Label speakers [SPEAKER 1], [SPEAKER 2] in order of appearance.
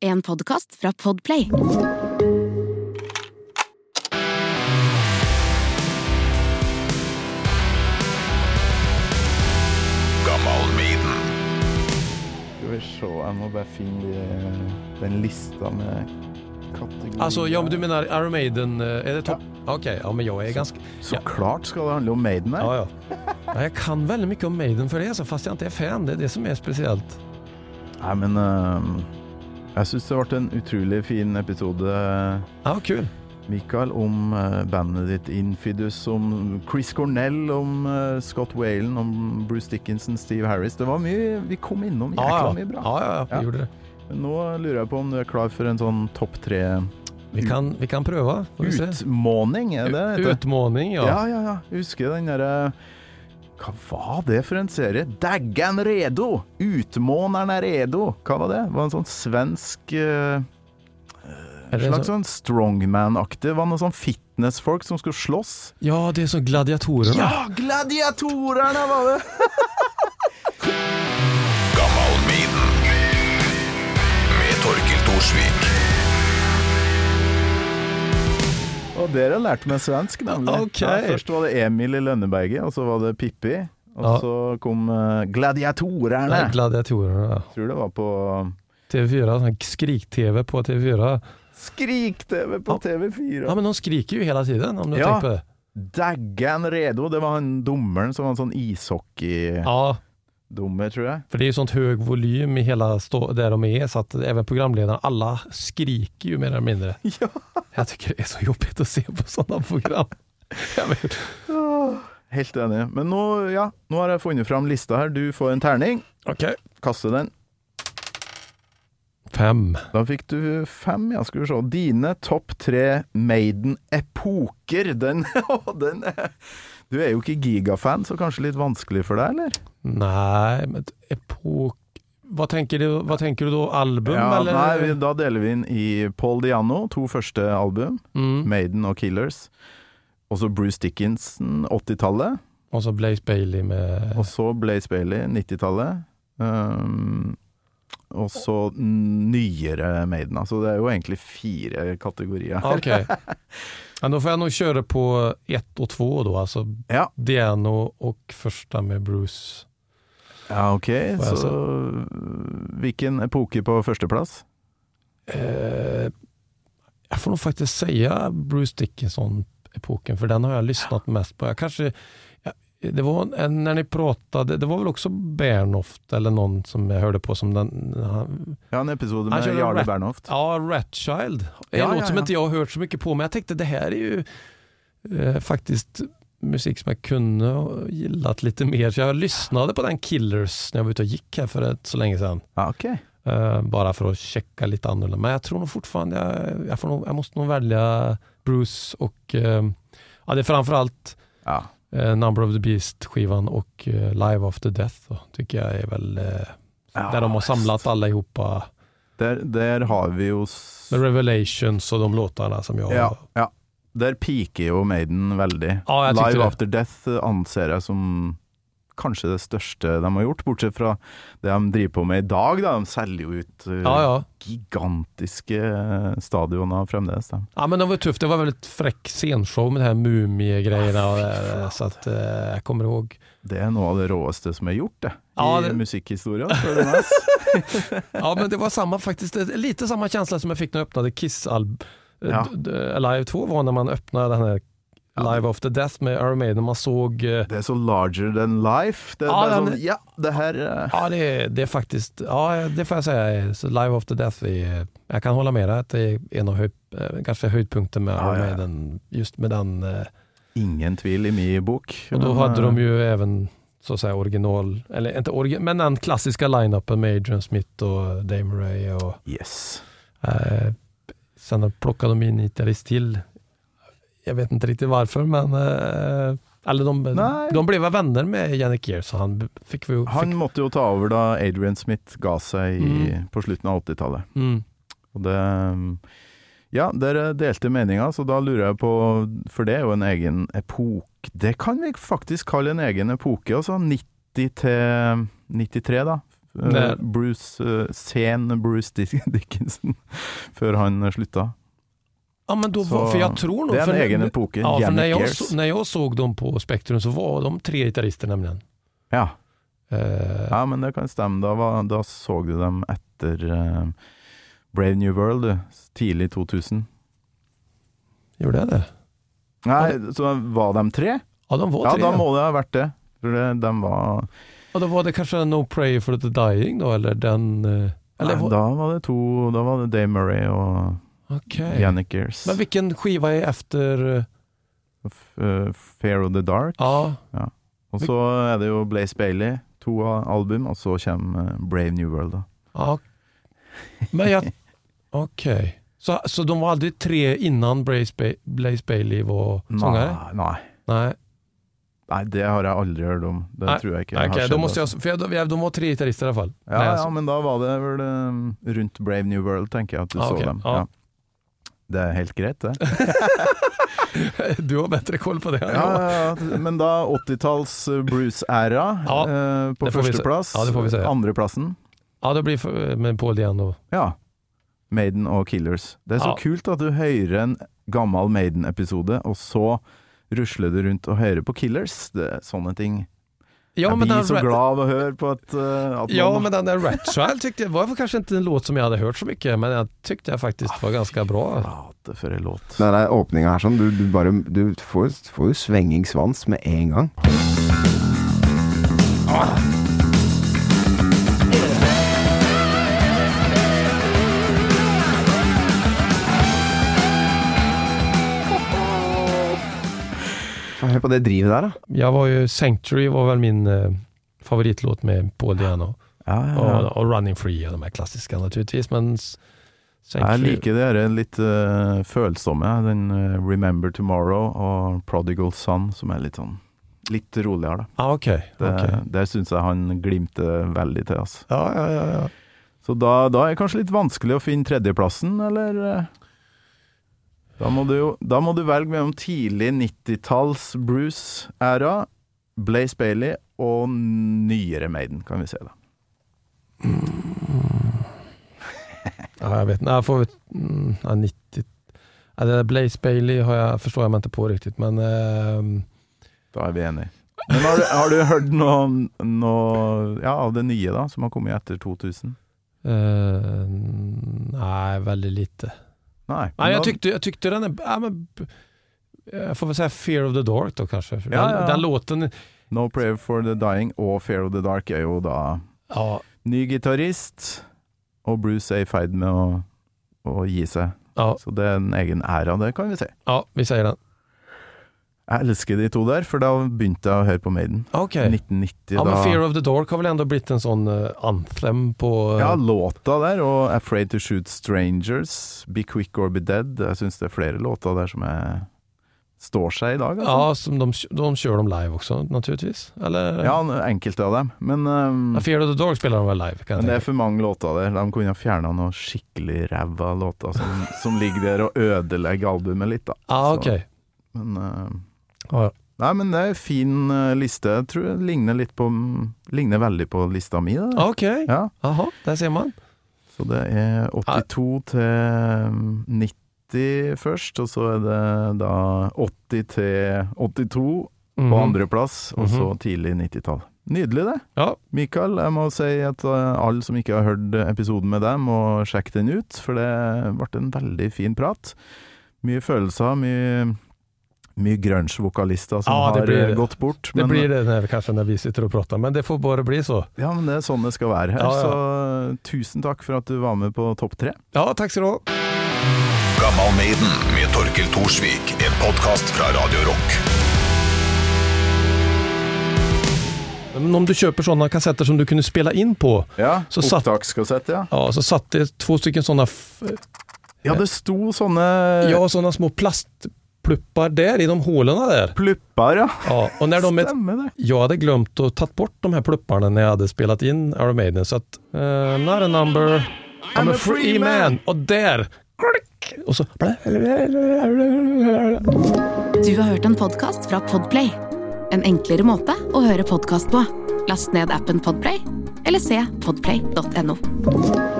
[SPEAKER 1] En podkast fra Podplay.
[SPEAKER 2] Skal vi se, jeg må bare finne de- eh, den lista med kategorier.
[SPEAKER 3] Alltså, Altså, ja, men du menar Iron Maiden, eh, är det topp? Okej, ja men jag är ganska...
[SPEAKER 2] Så klart skal det handle om Maiden her.
[SPEAKER 3] Ja, ja. ja, jag kan väldigt mycket om Maiden för det, alltså, fast jag inte är fan. Det är det som är speciellt.
[SPEAKER 2] Nei, men øhm, jeg syns det ble en utrolig fin episode, eh,
[SPEAKER 3] Ja, kul.
[SPEAKER 2] Mikael, om øh, bandet ditt Infidus, om Chris Cornell, om øh, Scott Whalen, om Bruce Dickinson, Steve Harris. Det var mye vi kom innom. Jækla
[SPEAKER 3] Ja, ja.
[SPEAKER 2] mye bra.
[SPEAKER 3] Ja, ja, ja,
[SPEAKER 2] Ja.
[SPEAKER 3] vi gjorde det.
[SPEAKER 2] Men Nå lurer jeg på om du er klar for en sånn topp
[SPEAKER 3] Vi kan, vi kan pröva. Får vi se.
[SPEAKER 2] tre-utmåning, er det det heter?
[SPEAKER 3] Utmaning, ja.
[SPEAKER 2] Ja, ja, ja. Jeg husker den derre Hva var det for en serie? Daggan redo! Utmåneren er redo! Hva var det? Det var en sånn svensk eh,
[SPEAKER 3] Är det
[SPEAKER 2] Slags
[SPEAKER 3] så-
[SPEAKER 2] sånn strongman-aktig. Det var noen sånn fitnessfolk som skulle slåss.
[SPEAKER 3] Ja, det är som gladiatorerna.
[SPEAKER 2] Ja, gladiatorerne var det!
[SPEAKER 4] med Torkil Thorsvik.
[SPEAKER 2] Og dere lærte meg svensk, nemlig.
[SPEAKER 3] Ok.
[SPEAKER 2] først var det Emil i Lønneberget, og så var det Pippi. Og
[SPEAKER 3] Ja.
[SPEAKER 2] så kom eh, gladiatorerne.
[SPEAKER 3] Nej, gladiatorerna. ja.
[SPEAKER 2] tror det var på
[SPEAKER 3] TV4, sån här skrik-TV på TV4.
[SPEAKER 2] Skrik-TV på
[SPEAKER 3] Ja.
[SPEAKER 2] TV4.
[SPEAKER 3] Ja, men de skriker ju hela tiden om du
[SPEAKER 2] Ja.
[SPEAKER 3] tänker på det.
[SPEAKER 2] Daggan redo, det var han dommeren som var en sånn ishockey-dommer,
[SPEAKER 3] Ja,
[SPEAKER 2] tror jeg.
[SPEAKER 3] för det är ju sånt hög volym i hela stå där de är, så att även programledarna, alla skriker ju mer eller mindre.
[SPEAKER 2] Ja.
[SPEAKER 3] Jag tycker det är så jobbigt att se på sådana program. Jag vet.
[SPEAKER 2] Helt enig. Men nå, ja, nå har jeg funnet fram lista her. Du får en terning.
[SPEAKER 3] Okej.
[SPEAKER 2] Kaste den.
[SPEAKER 3] Fem.
[SPEAKER 2] Da fikk du fem, ja. Skal vi se. Dine topp tre Maiden-epoker. Den, Å, den er Du er jo ikke gigafan, så kanskje litt vanskelig for deg, eller?
[SPEAKER 3] Nej, men epok... Vad tänker du, vad tänker du då? Album
[SPEAKER 2] Ja,
[SPEAKER 3] eller?
[SPEAKER 2] nei, vi, da deler vi inn i Paul Diano, to første album,
[SPEAKER 3] Mm.
[SPEAKER 2] Maiden og Killers. Og så Bruce Dickinson, 80-tallet.
[SPEAKER 3] Och så Blaze Bailey med...
[SPEAKER 2] Og så Blaze Bailey, 90-tallet. Um, og så nyere Maiden. Altså det er jo egentlig fire kategorier.
[SPEAKER 3] Ja, Okej. Ja, då får jag nog köra på ett och två då, alltså
[SPEAKER 2] Ja,
[SPEAKER 3] Diano og första med Bruce.
[SPEAKER 2] ja ok.
[SPEAKER 3] Får jeg
[SPEAKER 2] Så hvilken epoke på førsteplass?
[SPEAKER 3] Eh, jag får nog faktiskt säga Bruce Dickinson-epoken, för den har jag lyssnat mest på. Jag kanske, ja, det var en, när ni pratade, det var väl också Bernhoft eller någon som jag hørte på som den, han,
[SPEAKER 2] Ja, en episode
[SPEAKER 3] Han
[SPEAKER 2] med
[SPEAKER 3] kjører
[SPEAKER 2] Jarle
[SPEAKER 3] rap.
[SPEAKER 2] Bernhoft.
[SPEAKER 3] ja, Ratchild. En
[SPEAKER 2] Ja,
[SPEAKER 3] låt
[SPEAKER 2] ja,
[SPEAKER 3] som
[SPEAKER 2] ja.
[SPEAKER 3] inte jag har hört så mycket på, men jag tänkte det här är ju eh, faktiskt musik som jag kunde ha gillat lite mer, så jag lyssnade på den Killers när jag var ute och gick här för ett, så länge sedan.
[SPEAKER 2] Ja, ok.
[SPEAKER 3] Eh, bara för att checka lite annorlunda. Men jag tror nog fortfarande, jag, jag, får nog, jag måste nog välja Bruce och eh, ja, det är framförallt
[SPEAKER 2] Ja.
[SPEAKER 3] eh, Number of the Beast-skivan och eh, Live After Death då, tycker jag är väl eh,
[SPEAKER 2] Ja,
[SPEAKER 3] där de har samlat allihopa.
[SPEAKER 2] Der, der har vi jo s-
[SPEAKER 3] The Revelations och de låtarna som jag...
[SPEAKER 2] ja, ja. Der piker jo Maiden veldig.
[SPEAKER 3] Ja, jeg tyckte
[SPEAKER 2] Live
[SPEAKER 3] det.
[SPEAKER 2] After Death anser jeg som kanskje det største de har gjort, bortsett fra det de driver på med i dag. Da. De selger jo ut eh,
[SPEAKER 3] Ja, ja.
[SPEAKER 2] gigantiske eh, stadioner fremdeles. Da.
[SPEAKER 3] ja, men det var tufft. Det var väldigt fräck scenshow med det här mumiegrejerna och det där, Så att, eh, jag kommer ihåg.
[SPEAKER 2] Det er noe av det råeste som er gjort det,
[SPEAKER 3] Ja,
[SPEAKER 2] i
[SPEAKER 3] det-
[SPEAKER 2] musikkhistorien. spør du meg, ass.
[SPEAKER 3] Ja, men det var samma faktiskt, lite samma känsla som jag fick när jag öppnade Kiss alb eh,
[SPEAKER 2] Ja.
[SPEAKER 3] d- d- Alive 2 var när man öppnade den här Live After Death med Iron Maiden, man såg eh,
[SPEAKER 2] Det er så larger than life. Det er
[SPEAKER 3] Ja,
[SPEAKER 2] bare
[SPEAKER 3] den-
[SPEAKER 2] sånn, ja, det her eh,
[SPEAKER 3] Ja, det, det är faktiskt, ja det får jag säga, är- så Live After Death, är, jag kan hålla med dig att det är en av höjd, eh, kanske höjdpunkten med
[SPEAKER 2] Ja,
[SPEAKER 3] Iron
[SPEAKER 2] ja, ja.
[SPEAKER 3] Maiden, just med den, eh,
[SPEAKER 2] Ingen tvil i min bok.
[SPEAKER 3] och då
[SPEAKER 2] Men,
[SPEAKER 3] hade de
[SPEAKER 2] eh,
[SPEAKER 3] ju även så att säga original, eller inte original, men den klassiska line-upen med Adrian Smith och Dave Murray och
[SPEAKER 2] Yes.
[SPEAKER 3] Eh, sen plockade de in en gitarrist till. Jag vet inte riktigt varför, men eh, eller de,
[SPEAKER 2] Nej.
[SPEAKER 3] de blev väl vänner med Jannik Gear, så han fick vi...
[SPEAKER 2] Han
[SPEAKER 3] fick,
[SPEAKER 2] måtte jo ta over da Adrian Smith ga seg i,
[SPEAKER 3] Mm.
[SPEAKER 2] på slutten av 80-tallet.
[SPEAKER 3] mm,
[SPEAKER 2] Og det mm, Ja, dere delte meninger, så da lurer jeg på For det er jo en egen epoke Det kan vi faktisk kalle en egen epoke, altså. 90 til 93, da. eh,
[SPEAKER 3] Det-
[SPEAKER 2] Bruce eh, Sen Bruce Dick- Dickinson før han slutta.
[SPEAKER 3] Ja, men då,
[SPEAKER 2] Så
[SPEAKER 3] för jag tror nog...
[SPEAKER 2] Det er
[SPEAKER 3] för-
[SPEAKER 2] en egen epoke.
[SPEAKER 3] Ja, för när
[SPEAKER 2] Yannick
[SPEAKER 3] jag,
[SPEAKER 2] Ayres.
[SPEAKER 3] så, när jag såg dem på Spektrum så var de tre gitarrister nämligen.
[SPEAKER 2] Ja.
[SPEAKER 3] Eh,
[SPEAKER 2] ja, men det kan stemme. Da, var, da så du dem etter eh, Brave New World, du. tidlig 2000.
[SPEAKER 3] Gjorde jeg det?
[SPEAKER 2] Nei, så var de tre?
[SPEAKER 3] Ja, de var
[SPEAKER 2] Ja,
[SPEAKER 3] tre.
[SPEAKER 2] da må det ha vært det. For det, de var
[SPEAKER 3] Ja, då var det kanske No Prayer for the Dying då, eller den... eh, Eller,
[SPEAKER 2] Nei,
[SPEAKER 3] var-
[SPEAKER 2] Da var det to Da var det Dave Murray og
[SPEAKER 3] Okej.
[SPEAKER 2] Yannick Gears.
[SPEAKER 3] Men vilken skiva er efter... eh,
[SPEAKER 2] Fair eh, of the Dark.
[SPEAKER 3] Ja,
[SPEAKER 2] Og så er det jo Blaze Bailey, to a- album, og så kommer eh, Brave New World, da.
[SPEAKER 3] ja. Men jag... Okej. Så, så de var aldrig tre innan Blaze, ba- Blaze Bailey var sångare?
[SPEAKER 2] Nei, nei.
[SPEAKER 3] Nej.
[SPEAKER 2] Nei, det har jeg aldri hørt om. Det
[SPEAKER 3] Nei,
[SPEAKER 2] tror jeg ikke
[SPEAKER 3] Okej,
[SPEAKER 2] har
[SPEAKER 3] då
[SPEAKER 2] skjedd,
[SPEAKER 3] måste jag...
[SPEAKER 2] altså.
[SPEAKER 3] För jag, de- de var tre gitarrister i alla fall.
[SPEAKER 2] ja,
[SPEAKER 3] Nej,
[SPEAKER 2] ja,
[SPEAKER 3] alltså.
[SPEAKER 2] men da var det vel eh, rundt Brave New World, tenker jeg at du
[SPEAKER 3] Ah,
[SPEAKER 2] så
[SPEAKER 3] ok,
[SPEAKER 2] dem.
[SPEAKER 3] ja.
[SPEAKER 2] Ja. Det er helt greit, det.
[SPEAKER 3] Du har bättre koll på det än jag.
[SPEAKER 2] Ja, ja, ja. Men da 80-talls eh, Bruce-æra
[SPEAKER 3] Ja,
[SPEAKER 2] eh, på
[SPEAKER 3] det får vi se.
[SPEAKER 2] førsteplass.
[SPEAKER 3] Ja, det får vi se, ja.
[SPEAKER 2] Andreplassen,
[SPEAKER 3] Ja, det blir för, med Paul Diano.
[SPEAKER 2] ja. Maiden og Killers. Det er så
[SPEAKER 3] Ja.
[SPEAKER 2] kult at du hører en gammel Maiden-episode, og så rusler du rundt og hører på Killers. Det er sånne ting.
[SPEAKER 3] Ja,
[SPEAKER 2] jeg
[SPEAKER 3] men
[SPEAKER 2] blir
[SPEAKER 3] den,
[SPEAKER 2] så
[SPEAKER 3] ra-
[SPEAKER 2] glad av å høre på at, eh, at
[SPEAKER 3] ja,
[SPEAKER 2] man
[SPEAKER 3] men den där Ratchild tyckte jag var kanske inte en låt som jag hade hört så mycket, men jeg tyckte jeg faktiskt var ganska bra.
[SPEAKER 2] Flate for en låt.
[SPEAKER 5] Den der åpninga her sånn, du, du bare Du får, får jo svenging svans med en gang. Faen, Hør på det drivet der, da.
[SPEAKER 3] Jeg var ju, Sanctuary var väl min eh, favoritlåt med Paul Diano.
[SPEAKER 2] Ja, ja,
[SPEAKER 3] Och,
[SPEAKER 2] ja.
[SPEAKER 3] och Running Free och de här klassiska naturligtvis, men s-
[SPEAKER 2] Jeg
[SPEAKER 3] Sanctuary.
[SPEAKER 2] liker det her litt eh, følsomme. Den eh, 'Remember Tomorrow' og 'Prodigal Son', som er litt sånn litt roligere, da.
[SPEAKER 3] Ah, okej.
[SPEAKER 2] Det,
[SPEAKER 3] okej.
[SPEAKER 2] Der syns jeg han glimter veldig til, altså.
[SPEAKER 3] Ja, ja, ja, ja.
[SPEAKER 2] Så da, da er det kanskje litt vanskelig å finne tredjeplassen, eller? eh? Da må du, jo, da må du velge mellom tidlig 90-talls Bruce-æra, Blaze Bailey og nyere Maiden, kan vi se da.
[SPEAKER 3] ja jag vet inte. Jag får väl- mm, ja, 90. Ja, det där Blaze Bailey har jag, förstår jag mig inte på riktigt, men ehm,
[SPEAKER 2] Da er vi enige. Men har du, har du hørt noe, noe ja, av det nye da, som har kommet etter 2000?
[SPEAKER 3] Eh, nej, väldigt lite.
[SPEAKER 2] Nei.
[SPEAKER 3] Nej, jag,
[SPEAKER 2] men da-
[SPEAKER 3] tyckte, jag tyckte den är... Ja, men, jag får väl säga Fear of the Dark då kanske. För
[SPEAKER 2] Ja,
[SPEAKER 3] den,
[SPEAKER 2] ja, ja.
[SPEAKER 3] den låten...
[SPEAKER 2] No Prayer for the Dying og Fear of the Dark er jo da
[SPEAKER 3] Ja,
[SPEAKER 2] ny gitarist, og Bruce er i ferd med å, å gi seg.
[SPEAKER 3] ja,
[SPEAKER 2] Så det er en egen æra, det kan vi se.
[SPEAKER 3] ja vi säger den.
[SPEAKER 2] Jeg elsker de to der, for da begynte jeg å høre på Maiden.
[SPEAKER 3] Okej.
[SPEAKER 2] 1990,
[SPEAKER 3] Ja, men Fear
[SPEAKER 2] da.
[SPEAKER 3] of the Dark har väl ändå blivit en sån eh, anthem på... eh,
[SPEAKER 2] Ja, låta der, og 'Afraid to Shoot Strangers', 'Be Quick or Be Dead'. Jeg syns det er flere låter der som er, står seg i dag. Altså.
[SPEAKER 3] ja som de, de kör dem live också naturligtvis. Eller?
[SPEAKER 2] Ja, enkelte av dem. Men, ehm,
[SPEAKER 3] Ja, Fear of the Dark spelar de väl live? Kan jag
[SPEAKER 2] men det er
[SPEAKER 3] tänka.
[SPEAKER 2] for mange låter der. De kunne ha fjerna noen skikkelig ræva låter som, som ligger der och ødelegger albumet litt, da.
[SPEAKER 3] Ja,
[SPEAKER 2] Så,
[SPEAKER 3] okej.
[SPEAKER 2] Men, ehm,
[SPEAKER 3] Ah, Ja,
[SPEAKER 2] nei, men det er en fin eh, liste. Jeg tror det ligner litt på Ligner veldig på lista mi. det der.
[SPEAKER 3] ja. Okej,
[SPEAKER 2] Ja.
[SPEAKER 3] Ah, jaha, där ser man.
[SPEAKER 2] Så det er 82 til 90 først, og så er det da 80 til 82
[SPEAKER 3] Mhm.
[SPEAKER 2] på andreplass, og så
[SPEAKER 3] Mhm.
[SPEAKER 2] tidlig 90-tall. Nydelig, det.
[SPEAKER 3] Ja,
[SPEAKER 2] Mikael, jeg må si at eh, alle som ikke har hørt episoden med deg, må sjekke den ut, for det ble en veldig fin prat. Mye følelser, mye, mye grunge-vokalister som
[SPEAKER 3] Ja, det
[SPEAKER 2] har
[SPEAKER 3] blir-
[SPEAKER 2] eh, gått bort.
[SPEAKER 3] det blir det när, kanske när vi sitter och pratar, men det får bara bli så.
[SPEAKER 2] Ja, men det er sånn det skal være her,
[SPEAKER 3] Ja, ja.
[SPEAKER 2] så eh, tusen takk for at du var med på topp tre.
[SPEAKER 3] Ja, tack så du ha.
[SPEAKER 4] Gammal Maiden med Torkel Thorsvik. En podkast fra Radio Rock.
[SPEAKER 3] Men om du köper sådana kassetter som du kunde spela in på,
[SPEAKER 2] Ja,
[SPEAKER 3] Så satt-
[SPEAKER 2] opptakskassett, ja.
[SPEAKER 3] ja, så satt det två stycken sådana, f-
[SPEAKER 2] Eh. Ja, det sto sånne
[SPEAKER 3] ja, sådana små plastpluppar där i de hålen där.
[SPEAKER 2] pluppar, ja.
[SPEAKER 3] Ja, och när de är,
[SPEAKER 2] Stemmer det.
[SPEAKER 3] jag hade glömt att ta bort de här plupparna när jag hade spelat in Iron Maiden, så att eh, I'm not a number, I'm, a free man. Och där, klick, och så...
[SPEAKER 1] Du har hørt en podcast fra Podplay. En enklere måte å høre podcast på. Last ned appen Podplay, eller eller se podplay.no.